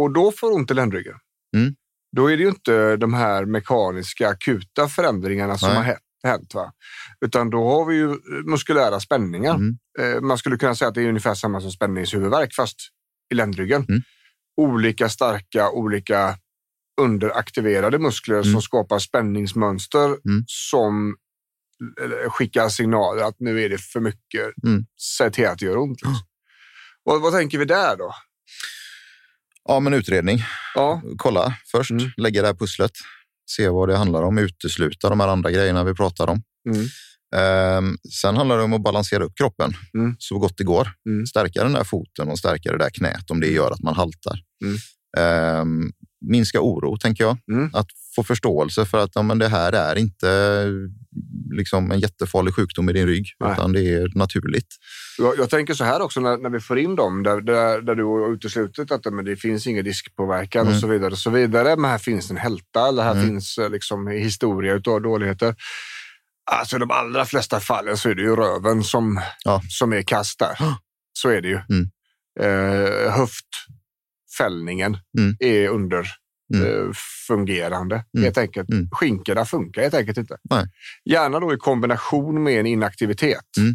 och då får ont i ländryggen.
Mm.
Då är det ju inte de här mekaniska akuta förändringarna som
Nej.
har hä- hänt. Va? Utan då har vi ju eh, muskulära spänningar.
Mm.
Eh, man skulle kunna säga att det är ungefär samma som spänningshuvudvärk fast i ländryggen.
Mm.
Olika starka, olika underaktiverade muskler
Mm.
som skapar spänningsmönster
Mm.
som eller, skickar signaler att nu är det för mycket.
Mm.
Säg till att det gör ont. Liksom. Och vad tänker vi där då?
Ja, men utredning.
Ja,
kolla först,
Mm.
lägga det här pusslet, se vad det handlar om, utesluta de här andra grejerna vi pratar om.
Mm.
Ehm, sen handlar det om att balansera upp kroppen
Mm.
så gott det går.
Mm.
Stärka den där foten och stärka det där knät om det gör att man haltar.
Mm.
Ehm, minska oro, tänker jag.
Mm.
Att få förståelse för att ja, men det här är inte liksom en jättefarlig sjukdom i din rygg,
Nej.
utan det är naturligt.
jag, jag tänker så här också när, när vi får in dem där, där, där du har uteslutit att men det finns ingen riskpåverkan och
Mm.
så vidare och så vidare. Men här finns en hälta eller här
Mm.
finns eh, liksom historia utav dåligheter. Alltså i de allra flesta fallen så är det ju röven som,
Ja.
som är kast där. Så är det ju.
Mm.
Eh, höftfällningen
Mm.
är underfungerande
Mm.
eh, fungerande,
Mm.
helt enkelt.
Mm.
Skinkorna funkar helt enkelt inte.
Nej.
Gärna då i kombination med en inaktivitet.
Mm.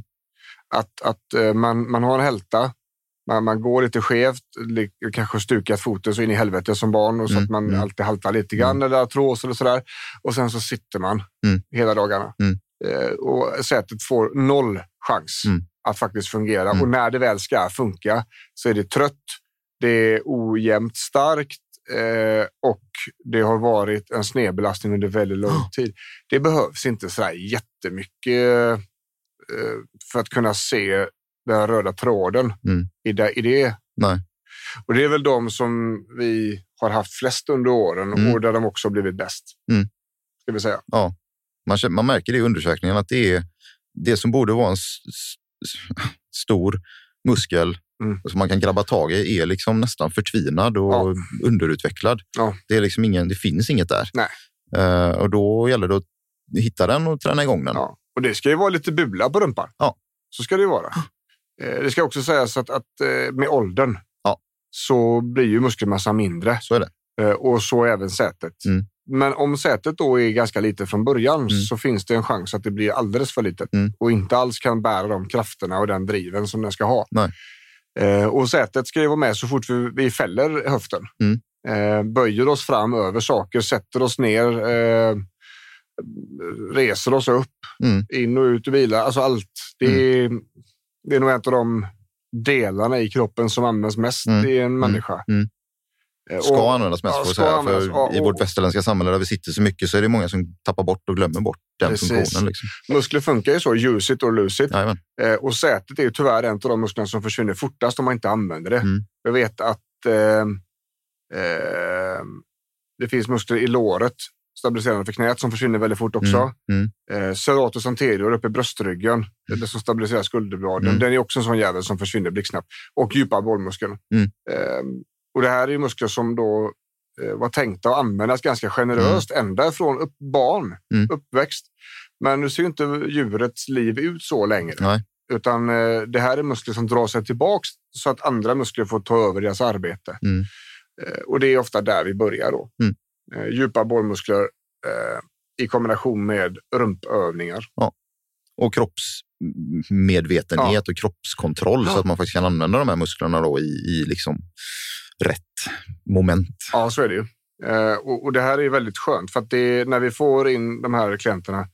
Att, att eh, man, man har en hälta, man, man går lite skevt, li- kanske stukat foten så in i helvete som barn och så
Mm,
att man
mm.
alltid haltar lite grann eller artros eller sådär. Och sen så sitter man
Mm.
hela dagarna.
Mm.
Eh, och sätet får noll chans
Mm.
att faktiskt fungera.
Mm.
Och när det väl ska funka så är det trött, det är ojämnt starkt eh, och det har varit en snedbelastning under väldigt lång
Ja.
tid. Det behövs inte sådär jättemycket eh, för att kunna se den röda tråden
Mm.
i det. I det.
Nej.
Och det är väl de som vi har haft flest under åren
Mm.
och där de också har blivit bäst.
Mm.
Ska vi säga.
Man, känner- man märker det i undersökningen att det är det som borde vara en s- s- stor muskel
Mm.
som man kan grabba tag i är liksom nästan förtvinad och
Ja.
underutvecklad.
Ja.
Det, är liksom ingen, det finns inget där.
Nej.
Eh, och då gäller det att hitta den och träna igång den.
Ja. Och det ska ju vara lite bula på rumpan.
Ja.
Så ska det ju vara. Eh, Det ska också sägas att, att eh, med åldern
Ja.
så blir ju muskelmassan mindre
Så är det.
eh, och så även sätet.
Mm.
Men om sätet då är ganska litet från början
Mm.
så finns det en chans att det blir alldeles för litet
Mm.
och inte alls kan bära de krafterna och den driven som den ska ha.
Nej.
Eh, Och sätet ska ju vara med så fort vi, vi fäller höften.
Mm.
Eh, Böjer oss fram över saker, sätter oss ner, eh, reser oss upp
Mm.
in och ut ur bilar. Alltså allt. Det är, det är nog en av de delarna i kroppen som används mest
Mm.
i en människa.
Mm.
Eh,
Ska
och-
användas mest,
ja,
får jag
ska
säga.
användas,
För
ja,
I
och-
vårt västerländska samhälle där vi sitter så mycket så är det många som tappar bort och glömmer bort den
Precis.
funktionen. Liksom.
Muskler funkar ju så, use it or lose it.
Jajamän.
Eh, och sätet är ju tyvärr en av de musklerna som försvinner fortast om man inte använder det.
Mm.
Jag vet att eh, eh, det finns muskler i låret, stabiliserande för knät, som försvinner väldigt fort också.
Mm. Mm.
Eh, serratus anterior uppe i bröstryggen, det som stabiliserar skulderbladen.
Mm.
Den är också en sån jävel som försvinner blixtsnabbt. Och djupa bålmuskeln.
Mm.
Ehm, och det här är ju muskler som då eh, var tänkta att användas ganska generöst ända från upp barn,
Mm.
uppväxt. Men nu ser ju inte djurets liv ut så längre.
Nej.
Utan eh, det här är muskler som drar sig tillbaks så att andra muskler får ta över deras arbete.
Mm.
Eh, och det är ofta där vi börjar då.
Mm.
Eh, djupa bålmuskler eh, i kombination med rumpövningar.
Och kroppsmedvetenhet
Ja.
och kroppskontroll så
Ja.
att man faktiskt kan använda de här musklerna då i, i liksom rätt moment.
Ja, så är det ju. Eh, och, och det här är väldigt skönt för att det, när vi får in de här klienterna,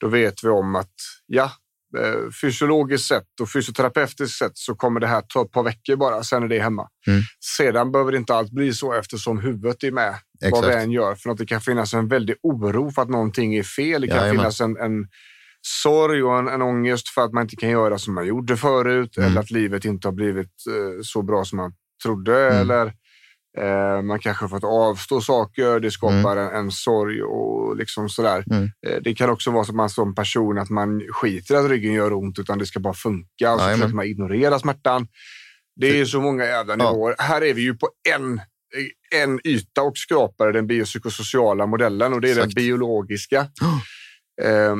då vet vi om att ja, eh, fysiologiskt sett och fysioterapeutiskt sett så kommer det här ta ett par veckor bara, sen är det hemma.
Mm.
Sedan behöver det inte allt bli så eftersom huvudet är med vad vi
Exakt.
än gör. För att det kan finnas en väldig oro för att någonting är fel. Det kan
Jajamän.
finnas en, en sorg och en, en ångest för att man inte kan göra som man gjorde förut
Mm.
eller att livet inte har blivit eh, så bra som man trodde.
Mm.
Eller eh, man kanske har fått avstå saker. Det skapar en, en sorg och liksom sådär.
Mm.
Eh, det kan också vara så att man som person att man skiter i att ryggen gör ont utan det ska bara funka och så
Jajamän.
försöker man ignorera smärtan. Det är så många jävla
Ja.
nivåer. Här är vi ju på en en yta och skrapar den biopsykosociala modellen och det är den
Exakt.
biologiska.
Ja.
Ehm,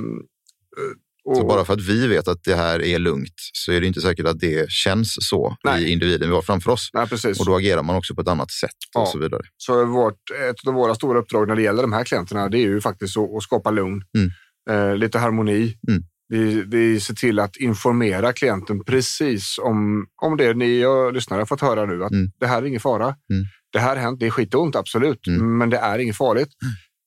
eh, och,
Så bara för att vi vet att det här är lugnt så är det inte säkert att det känns så
Nej.
i individen vi har framför oss.
nej, precis.
Och då agerar man också på ett annat sätt
Ja.
och så vidare.
Så vårt, ett av våra stora uppdrag när det gäller de här klienterna det är ju faktiskt att, att skapa lugn, eh, lite harmoni.
Mm.
Vi, vi ser till att informera klienten precis om, om det ni och lyssnare har fått höra nu, att
Mm.
det här är ingen fara.
Mm.
Det här har hänt, det är skitont absolut,
Mm.
men det är inget farligt.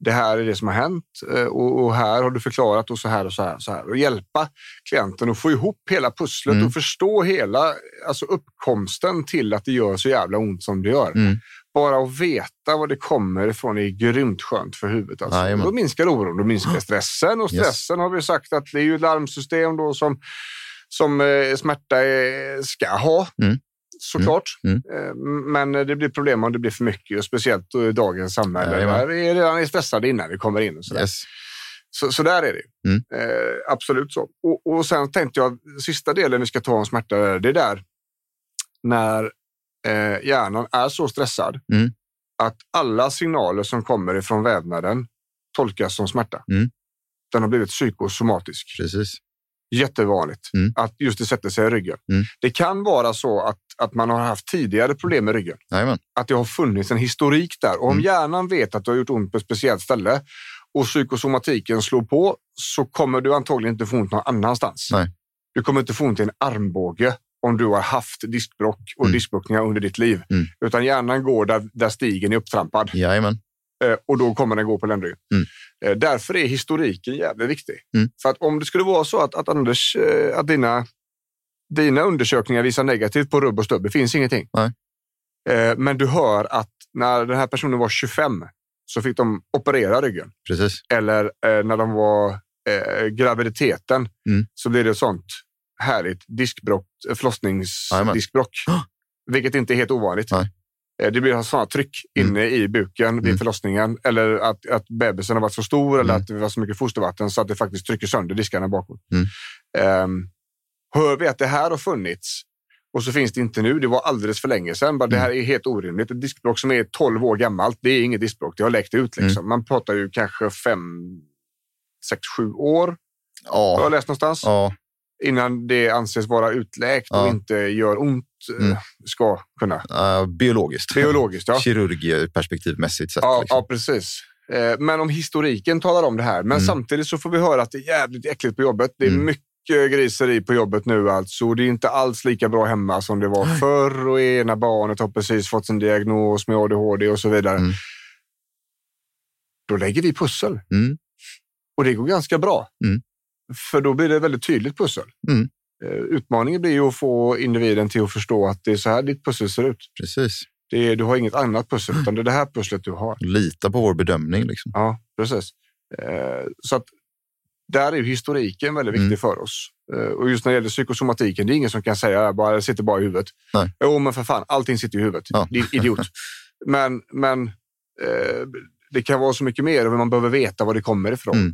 Det här är det som har hänt eh, och, och här har du förklarat och så här och så här. Och, så här. och hjälpa klienten att få ihop hela pusslet
Mm.
och förstå hela alltså uppkomsten till att det gör så jävla ont som det gör.
Mm.
Bara att veta var det kommer ifrån är grymt skönt för huvudet. Alltså.
Jajamän.
Då minskar oron, då minskar stressen. Och
Yes.
stressen har vi sagt att det är ju ett larmsystem då som, som eh, smärta eh, ska ha.
Mm.
Såklart.
Mm.
Eh, Men det blir problem om det blir för mycket, och speciellt då i dagens samhälle.
Jajamän.
där vi är redan stressade innan vi kommer in. Och sådär.
Yes.
Så, så där är det. ju.
Mm.
Eh, absolut så. Och, och sen tänkte jag, sista delen vi ska ta om smärta, det är där när eh, hjärnan är så stressad
Mm.
att alla signaler som kommer ifrån vävnaden tolkas som smärta.
Mm.
Den har blivit psykosomatisk.
Precis.
Jättevanligt
Mm.
att just det sätter sig i ryggen.
Mm.
Det kan vara så att, att man har haft tidigare problem med ryggen
Jajamän.
att det har funnits en historik där. Och om
Mm.
hjärnan vet att du har gjort ont på ett speciellt ställe och psykosomatiken slår på så kommer du antagligen inte få ont någon annanstans.
Nej.
Du kommer inte få ont i en armbåge om du har haft diskbråck och
Mm.
diskbråckningar under ditt liv.
Mm.
Utan hjärnan går där, där stigen är upptrampad
Jajamän.
eh, och då kommer den gå på ländryggen.
Mm.
Eh, Därför är historiken jävligt viktig.
Mm.
För att om det skulle vara så att, att, Anders, eh, att dina, dina undersökningar visar negativt på rubb och stubb, det finns ingenting.
Nej.
Eh, Men du hör att när den här personen var 25 så fick de operera ryggen.
Precis.
Eller eh, när de var eh, graviditeten
Mm.
så blir det ett sånt härligt diskbrock,
Jajamän.
förlossningsdiskbrock.
Ah.
Vilket inte är helt ovanligt.
Nej.
Eh, Det blir sådana tryck
Mm.
inne i buken vid
Mm.
förlossningen eller att, att bebisen har varit så stor eller
Mm.
att det var så mycket fostervatten så att det faktiskt trycker sönder diskarna bakåt.
Mm.
Ehm, hör vi att det här har funnits och så finns det inte nu. Det var alldeles för länge sedan. Bara, Det
Mm.
här är helt orimligt. Ett diskbråck som är 12 år gammalt, det är inget diskbråck. Det har läkt ut.
Mm.
Liksom. Man pratar ju kanske 5, 6, 7 år, har jag
Ja.
läst någonstans,
Ja.
innan det anses vara utläkt och
Ja.
inte gör ont. eh,
Mm.
Ska kunna.
eh, biologiskt.
Biologiskt, ja.
Kirurgperspektivmässigt sett.
Ja,
liksom.
ja precis. Eh, Men om historiken talar om det här. Men
Mm.
samtidigt så får vi höra att det är jävligt äckligt på jobbet. Det är
Mm.
mycket griseri på jobbet nu alltså. Det är inte alls lika bra hemma som det var förr och ena barnet har precis fått sin diagnos med ADHD och så vidare.
Mm.
Då lägger vi pussel
Mm.
och det går ganska bra.
Mm.
För då blir det ett väldigt tydligt pussel.
Mm.
Eh, Utmaningen blir ju att få individen till att förstå att det är så här ditt pussel ser ut.
Precis.
Det är, du har inget annat
Mm.
pussel, utan det är det här pusslet du har.
Lita på vår bedömning. Liksom.
Ja, precis. Eh, så att där är ju historiken väldigt viktig
Mm.
för oss. Eh, och just när det gäller psykosomatiken, det är ingen som kan säga att det sitter bara i huvudet.
Nej.
Jo, men för fan, allting sitter i huvudet.
Ja.
Din idiot. men men eh, det kan vara så mycket mer och man behöver veta var det kommer ifrån.
Mm.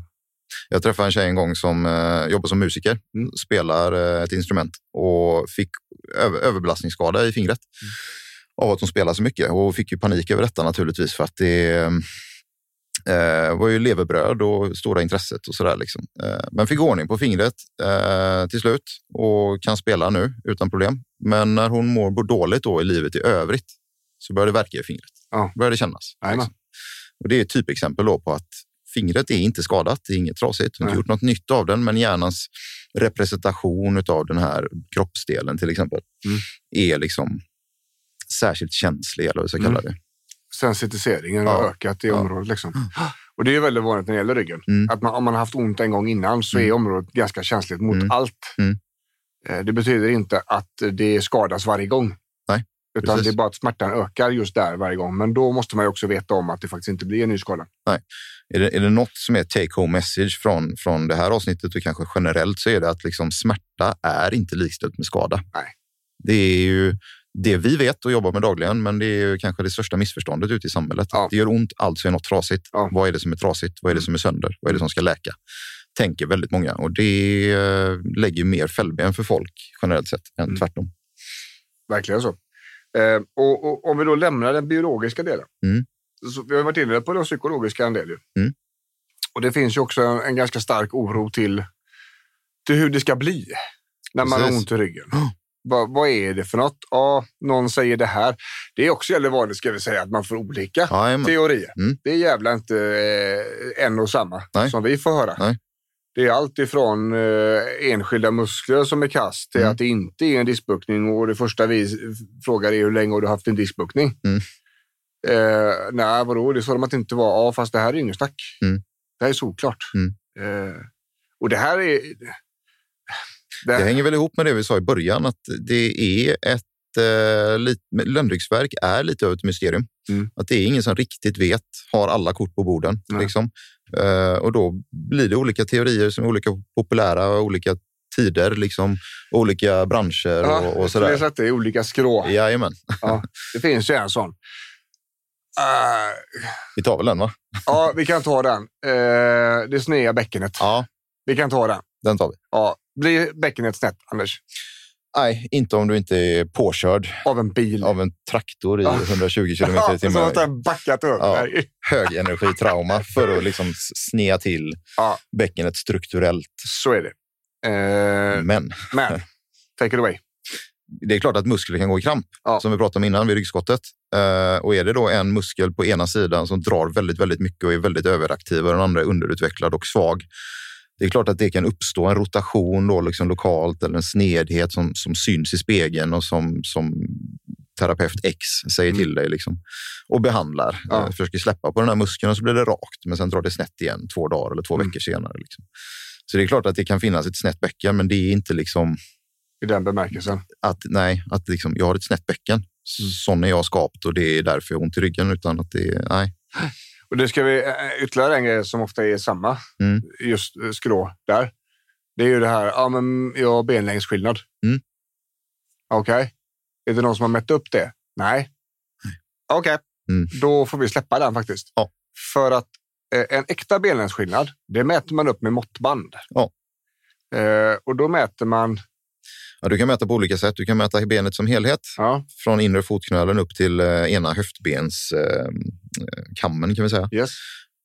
Jag träffade en tjej en gång som eh, jobbar som musiker,
Mm.
spelar eh, ett instrument och fick över, överbelastningsskada i fingret
Mm.
av att hon spelade så mycket och fick ju panik över detta naturligtvis för att det eh, var ju levebröd och stora intresset och sådär. Liksom. Eh, men fick ordning på fingret eh, till slut och kan spela nu utan problem. Men när hon mår dåligt då i livet i övrigt så börjar det verka i fingret.
Ja.
Börjar det kännas. Liksom.
Jajamän.
Och det är ett typexempel då på att fingret är inte skadat, det är inget trasigt. Hon har
Nej.
inte gjort något nytt av den, men hjärnans representation av den här kroppsdelen till exempel
Mm.
är liksom särskilt känslig, eller vad vi ska kalla det.
sensitiseringen har
Ja.
ökat i
Ja.
området. Liksom. Och det är väldigt vanligt när det gäller ryggen.
Mm.
Att man, om man har haft ont en gång innan så är
Mm.
området ganska känsligt mot
Mm.
allt.
Mm.
Eh, Det betyder inte att det skadas varje gång.
Nej,
Utan
precis.
det är bara att smärtan ökar just där varje gång. Men då måste man ju också veta om att det faktiskt inte blir en ny skada.
Är det, är det något som är take home message från, från det här avsnittet och kanske generellt så är det att liksom smärta är inte likställt med skada.
Nej.
Det är ju det vi vet och jobbar med dagligen, men det är ju kanske det största missförståndet ute i samhället.
Ja.
Att det gör ont, alltså är något trasigt.
Ja. Mm.
Vad är det som är trasigt? Vad är det som är sönder? Vad är det som ska läka? Tänker väldigt många och det eh, lägger ju mer fällben för folk generellt sett än
Mm.
tvärtom.
Verkligen så. Eh, och, och om vi då lämnar den biologiska delen.
Mm.
Så vi har varit inne på den psykologiska en del. Ju.
Mm.
Och det finns ju också en, en ganska stark oro till, till hur det ska bli när man har
Precis.
ont i ryggen.
Ja.
Va, vad är det för något? Ja, någon säger det här. Det är också jävligt vanligt, ska vi säga, att man får olika
Jajamän.
teorier.
Mm.
Det är jävla inte eh, en och samma
Nej.
som vi får höra.
Nej.
Det är allt ifrån eh, enskilda muskler som är kast till
Mm.
att det inte är en diskbuktning och det första vi s- frågar är hur länge har du haft en diskbuktning?
Mm.
Eh, nej, vadå, det sa de att det inte var. Ja, fast det här är ingen snack.
Mm.
Det här är solklart.
Mm.
Eh, och det här är... Det
Det hänger väl ihop med det vi sa i början, att det är ett eh, lit- ländryggsverk är lite över ett mysterium.
Mm.
Att det är ingen som riktigt vet, har alla kort på borden.
Nej.
Liksom. Eh, och då blir det olika teorier som är olika populära, olika tider, liksom, olika branscher
Ja,
och, och
så det är
sådär.
så att det är olika skrå.
Jajamän,
Det finns ju en sån. Eh,
vi tar väl den va?
ja, vi kan ta den. Eh, det snea bäckenet.
Ja,
Vi kan ta den.
den tar vi.
Ja, blir bäckenet snett, Anders?
Nej, inte om du inte är påkörd
Av en bil?
av en traktor i
Ja.
120 kilometer i
Ja, som
timmen.
att den backat upp.
Ja.
Nej.
Högenergitrauma för att liksom snea till
Ja.
bäckenet strukturellt.
Så är det. Eh,
Men
men, take it away.
det är klart att muskler kan gå i kramp,
Ja.
som vi pratade om innan vid ryggskottet. Eh, och är det då en muskel på ena sidan som drar väldigt, väldigt mycket och är väldigt överaktiv och den andra är underutvecklad och svag. Det är klart att det kan uppstå en rotation då liksom lokalt eller en snedhet som, som syns i spegeln och som, som terapeut X säger
Mm.
till dig liksom, och behandlar.
Ja.
Eh, försöker släppa på den här muskeln och så blir det rakt, men sen drar det snett igen två dagar eller två
Mm.
veckor senare. Liksom. Så det är klart att det kan finnas ett snett bäcken, men det är inte liksom
I den bemärkelsen.
att nej, att liksom, jag har ett snett bäcken. Så-
Mm.
Sån är jag skapt och det är därför jag har ont i ryggen. Utan att det är, nej.
Och det ska vi, eh, ytterligare en grej som ofta är samma,
Mm.
just eh, skrå där. Det är ju det här, ja men jag har benlängdsskillnad.
Mm.
Okej. Är det någon som har mätt upp det? Nej. Okej,
Mm.
då får vi släppa den faktiskt.
Ja.
För att eh, en äkta benlängdsskillnad, det mäter man upp med måttband.
Ja.
Eh, och då mäter man,
Ja, du kan mäta på olika sätt. Du kan mäta benet som helhet.
ja,
Från inre fotknölen upp till eh, ena höftbens eh, kammen kan vi säga.
yes.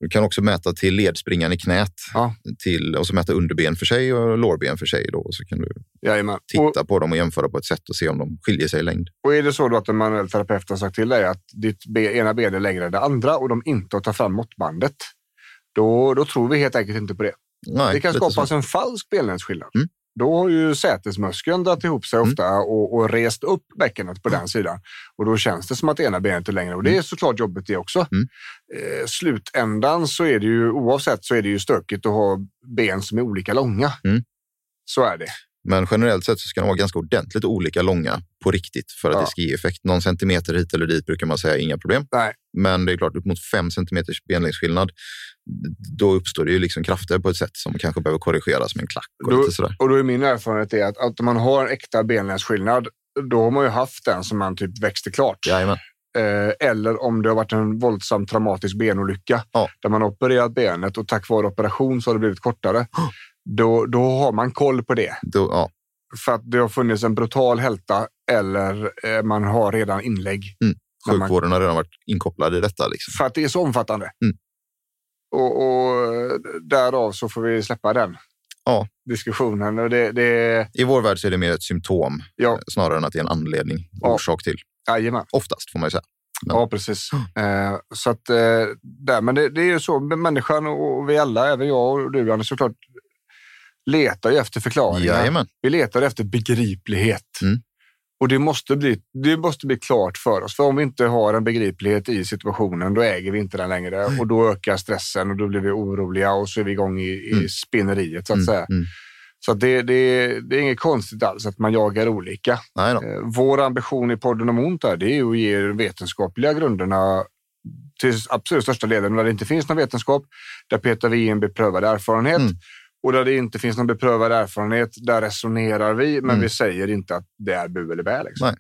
Du kan också mäta till ledspringan i knät.
Ja.
Till, och så mäta underben för sig och lårben för sig. Då, och så kan du
Jajamän. Och,
titta på dem och jämföra på ett sätt och se om de skiljer sig i längd.
och är det så då att en manuell terapeut har sagt till dig att ditt ben, ena ben är längre än det andra och de inte har tagit fram måttbandet, då, då tror vi helt enkelt inte på det.
Nej,
det kan
lite så.
skapas en falsk benlängdsskillnad.
Mm.
Då har ju sätesmuskeln dragit ihop sig ofta och, och rest upp bäckenet på den sidan. Och då känns det som att ena benet är längre och det är såklart jobbigt det också.
Mm.
Eh, slutändan så är det ju oavsett så är det ju stökigt att ha ben som är olika långa.
Mm.
Så är det.
Men generellt sett så ska de vara ganska ordentligt olika långa på riktigt för att
Ja.
det ska ge effekt. Någon centimeter hit eller dit brukar man säga inga problem.
Nej.
Men det är klart, upp mot fem centimeters benlängdsskillnad, då uppstår det ju liksom krafter på ett sätt som kanske behöver korrigeras med en klack och
Då-
lite sådär.
Och då är min erfarenhet är att, att om man har en äkta benlängdsskillnad, då har man ju haft den som man typ växte klart.
Jajamän.
Eh, eller om det har varit en våldsam traumatisk benolycka
Ja.
där man har opererat benet och tack vare operation så har det blivit kortare. Då, då har man koll på det.
Då, ja.
För att det har funnits en brutal hälta eller eh, man har redan inlägg.
Mm.
När man-
Sjukvården har redan varit inkopplad i detta. Liksom.
För att det är så omfattande.
Mm.
Och, och eh, därav så får vi släppa den
Ja.
diskussionen. Och det, det,
I vår värld så är det mer ett symptom
ja,
snarare än att det är en anledning,
Ja.
orsak till.
jajamän.
Oftast får man ju säga.
Ja, precis.
Mm.
Eh, så att, eh, där, men det, det är ju så, men människan och och vi alla, även jag och du Anders, såklart letar ju efter förklaringar.
Jajamän.
Vi letar efter begriplighet.
Mm.
Och det måste, bli, det måste bli klart för oss, för om vi inte har en begriplighet i situationen, då äger vi inte den längre och då ökar stressen och då blir vi oroliga och så är vi igång i, i
Mm.
spinneriet så att
Mm,
säga.
mm.
Så att det, det, det är inget konstigt alls att man jagar olika.
Nej då.
Eh, Vår ambition i podden om ont är, det är ju att ge de vetenskapliga grunderna till absolut största delen. Där det inte finns någon vetenskap, där petar vi in beprövad erfarenhet.
Mm.
Och där det inte finns någon beprövad erfarenhet, där resonerar vi, men
Mm.
vi säger inte att det är bu eller bä. Liksom.
Nej.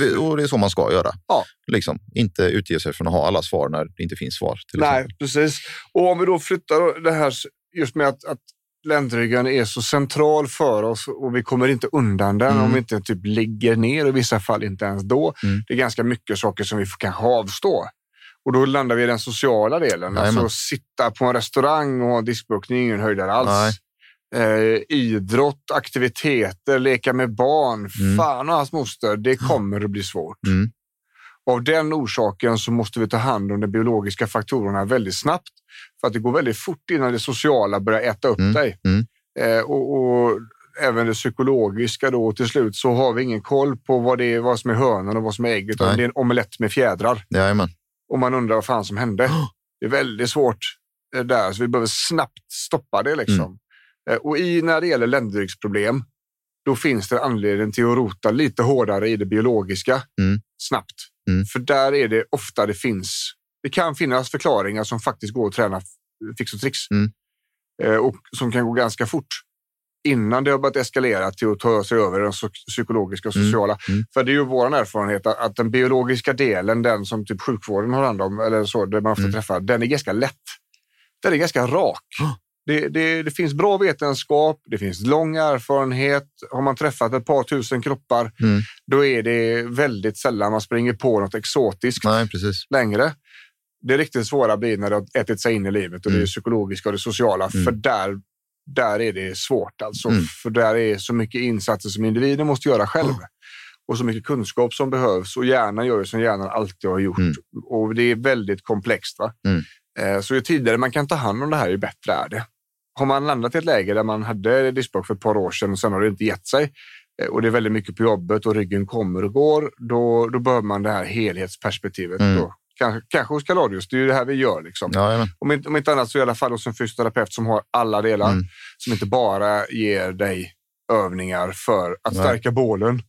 Vi- Och det är så man ska göra.
Ja.
Liksom, inte utge sig från att ha alla svar när det inte finns svar. Till
Nej,
exempel.
precis. Och om vi då flyttar det här just med att, att ländryggen är så central för oss och vi kommer inte undan den
Mm.
om vi inte typ ligger ner i vissa fall, inte ens då.
Mm.
Det är ganska mycket saker som vi får kanske avstå. Och då landar vi i den sociala delen.
Jajamän.
Alltså sitta på en restaurang och ha en diskbråck, det är ingen höjdare alls. Eh, idrott, aktiviteter, leka med barn.
Mm.
Fan och hans moster, det kommer att bli svårt.
Mm.
Och Av den orsaken så måste vi ta hand om de biologiska faktorerna väldigt snabbt. För att det går väldigt fort innan det sociala börjar äta upp
Mm,
dig.
mm.
Eh, och, och även det psykologiska då. Och till slut så har vi ingen koll på vad, det är, vad som är hönan och vad som är ägget. Utan
Nej.
det är en omelett med fjädrar.
Jajamän.
Och man undrar vad fan som hände. Det är väldigt svårt eh, där, så vi behöver snabbt stoppa det.
Mm.
Liksom. Eh, Och i, när det gäller ländryggsproblem, då finns det anledning till att rota lite hårdare i det biologiska
Mm.
snabbt.
Mm.
För där är det ofta det finns. Det kan finnas förklaringar som faktiskt går att träna f- fix och tricks
Mm.
Eh, och som kan gå ganska fort innan det har börjat eskalera till att ta sig över den psy- psykologiska och
Mm.
sociala.
Mm.
För det är ju vår erfarenhet att, att den biologiska delen, den som typ sjukvården har hand om, eller så, det man ofta
Mm.
träffar, den är ganska lätt. Den är ganska rak.
Ja.
Det, det, det finns bra vetenskap, det finns lång erfarenhet. Har man träffat ett par tusen kroppar,
Mm.
då är det väldigt sällan man springer på något exotiskt
Nej, precis.
längre. Det riktigt svåra blir när det har ätit sig in i livet och det är det psykologiska och det sociala.
Mm.
För där, där är det svårt. Alltså.
Mm.
För där är så mycket insatser som individen måste göra själv. Och så mycket kunskap som behövs. Och hjärnan gör ju som hjärnan alltid har gjort.
Mm.
Och det är väldigt komplext. Va?
Mm.
Eh, Så ju tidigare man kan ta hand om det här, ju bättre är det. Har man landat i ett läge där man hade diskbråck för ett par år sedan och sen har det inte gett sig eh, och det är väldigt mycket på jobbet och ryggen kommer och går, då, då behöver man det här helhetsperspektivet.
Mm.
Då. Kanske, kanske hos Kaladius, det är ju det här vi gör. Liksom.
Jajamän.
Om, inte, om inte annat så i alla fall hos en fysioterapeut som har alla delar,
Mm.
som inte bara ger dig övningar för att
Nej.
stärka bålen.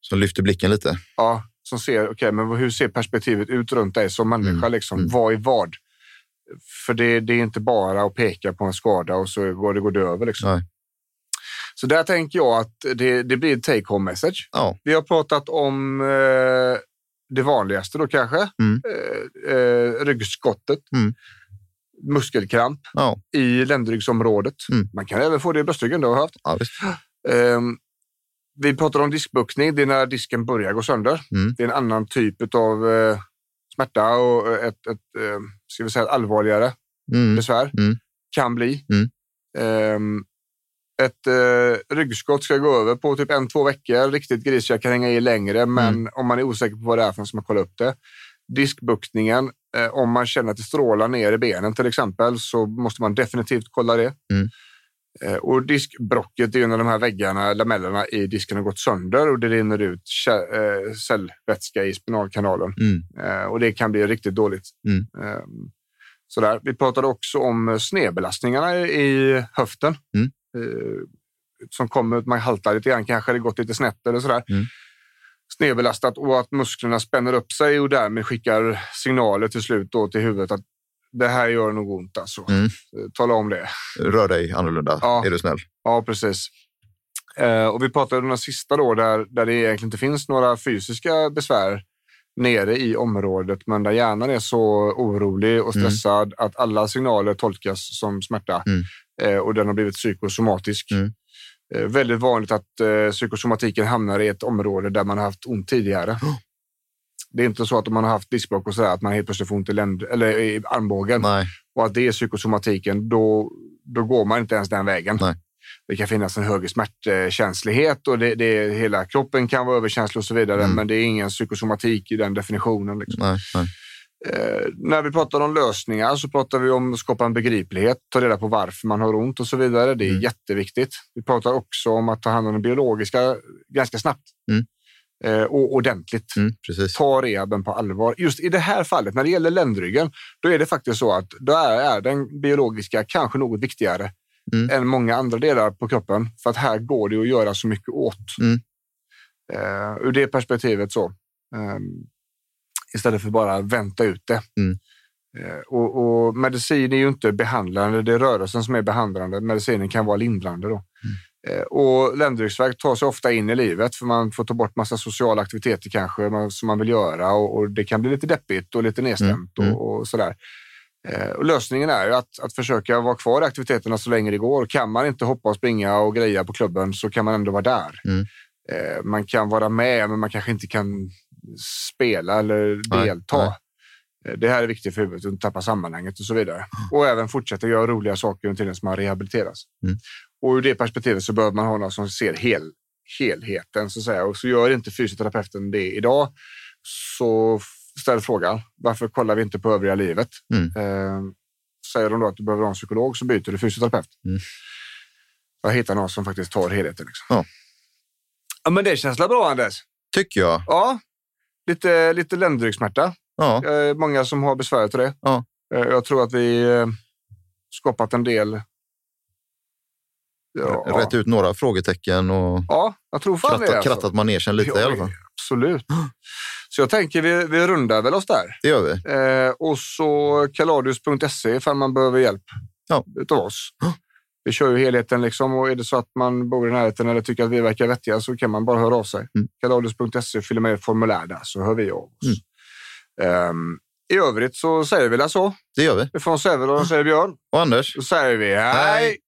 Så lyfter blicken lite.
Ja, som ser, okej, men hur ser perspektivet ut runt dig som människa?
Mm,
Liksom?
mm.
Vad är vad? För det, det är inte bara att peka på en skada och så går det, går det över. Liksom.
Nej.
Så där tänker jag att det, det blir ett take home message.
Ja.
Vi har pratat om eh, det vanligaste då kanske.
Mm.
Eh, eh, ryggskottet,
Mm.
muskelkramp
Ja.
i ländryggsområdet.
Mm.
Man kan även få det i bröstryggen, det har jag haft.
Ja, visst.
Ehm, vi pratar om diskbuktning, det är när disken börjar gå sönder.
Mm.
Det är en annan typ av eh, smärta och eh, ett, ett eh, ska vi säga, ett allvarligare
Mm.
besvär.
Mm.
Kan bli.
Mm.
Ehm, ett eh, ryggskott ska gå över på typ en, två veckor. Riktigt grisiga kan hänga i längre,
Mm.
men om man är osäker på vad det är för något så man kollar upp det. Diskbuktningen, eh, om man känner att det strålar ner i benen till exempel så måste man definitivt kolla det.
Mm.
Eh, och diskbrocket är ju när de här väggarna, lamellerna i disken har gått sönder och det rinner ut kä- eh, cellvätska i spinalkanalen.
Mm.
Eh, och det kan bli riktigt dåligt.
Mm.
Eh, sådär. Vi pratade också om eh, snedbelastningarna i- i höften.
Mm.
Eh, som kommer, man haltar lite grann kanske, det gått lite snett eller sådär.
Mm.
Snedbelastat och att musklerna spänner upp sig och därmed skickar signaler till slut då till huvudet att det här gör nog ont alltså.
Mm.
Eh, Tala om det.
Rör dig annorlunda,
Ja.
är du snäll.
Ja, precis. Eh, och vi pratade om den sista då, där, där det egentligen inte finns några fysiska besvär nere i området, men där hjärnan är så orolig och
Mm.
stressad att alla signaler tolkas som smärta
Mm.
eh, och den har blivit psykosomatisk.
Mm.
Eh, väldigt vanligt att eh, psykosomatiken hamnar i ett område där man har haft ont tidigare. Det är inte så att om man har haft diskbråck och sådär att man helt plötsligt får ont i, länd- eller i armbågen
Nej.
och att det är psykosomatiken, då, då går man inte ens den vägen.
Nej.
Det kan finnas en högre smärtkänslighet och det, det, hela kroppen kan vara överkänslig och så vidare,
Mm.
men det är ingen psykosomatik i den definitionen. Liksom.
Nej. Nej.
Eh, när vi pratar om lösningar så pratar vi om att skapa en begriplighet, ta reda på varför man har ont och så vidare. Det är
Mm.
jätteviktigt. Vi pratar också om att ta hand om det biologiska ganska snabbt.
Mm.
eh, och ordentligt.
Mm, precis.
Ta rehaben på allvar. Just i det här fallet, när det gäller ländryggen, då är det faktiskt så att då är, är den biologiska kanske något viktigare
Mm.
än många andra delar på kroppen. För att här går det att göra så mycket åt.
Mm.
Eh, ur det perspektivet så. Ehm, istället för bara vänta ut det.
Mm.
Eh, och, och medicin är ju inte behandlande, det är rörelsen som är behandlande. Medicinen kan vara lindrande. Då. Eh, Och ländryggsvärk tar sig ofta in i livet för man får ta bort massa sociala aktiviteter kanske man- som man vill göra och, och det kan bli lite deppigt och lite nedstämt
Mm, mm.
Och, och sådär. Eh, Och lösningen är ju att, att försöka vara kvar i aktiviteterna så länge det går. Kan man inte hoppa och springa och greja på klubben så kan man ändå vara där.
Mm.
Eh, Man kan vara med, men man kanske inte kan spela eller
Nej,
delta.
nej.
Eh, Det här är viktigt för huvudet, att inte tappa sammanhanget och så vidare. Och även fortsätta göra roliga saker under tiden som man rehabiliteras.
Mm.
Och ur det perspektivet så behöver man ha någon som ser hel, helheten. Så att säga. Och så gör inte fysioterapeuten det idag, så f- ställ frågan. Varför kollar vi inte på övriga livet?
Mm.
Eh, säger de då att du behöver ha en psykolog så byter du fysioterapeut.
Mm.
Jag hittar någon som faktiskt tar helheten. Liksom.
Ja.
ja, men det känns väl bra Anders?
Tycker jag.
Ja, lite, lite ländryggsmärta.
Ja.
Eh, Många som har besvär till det.
Ja.
Eh, Jag tror att vi eh, skapat en del...
Rätt ut några frågetecken och
Ja, jag tror fan
krattat,
det. alltså-
krattat manegen lite
Ja,
i alla fall.
Absolut. Så jag tänker vi, vi rundar väl oss där.
Det gör vi.
Eh, och så kaladius.se ifall man behöver hjälp
Ja.
utav oss. Vi kör ju helheten liksom och är det så att man bor i närheten eller tycker att vi verkar vettiga så kan man bara höra av sig.
Mm.
Kaladius.se, fyller med ett formulär där så hör vi av oss.
Mm.
Ehm, I övrigt så säger vi väl så.
Det gör vi.
Från Sävedalen säger Björn.
Och Anders?
Då säger vi hej.
Hej.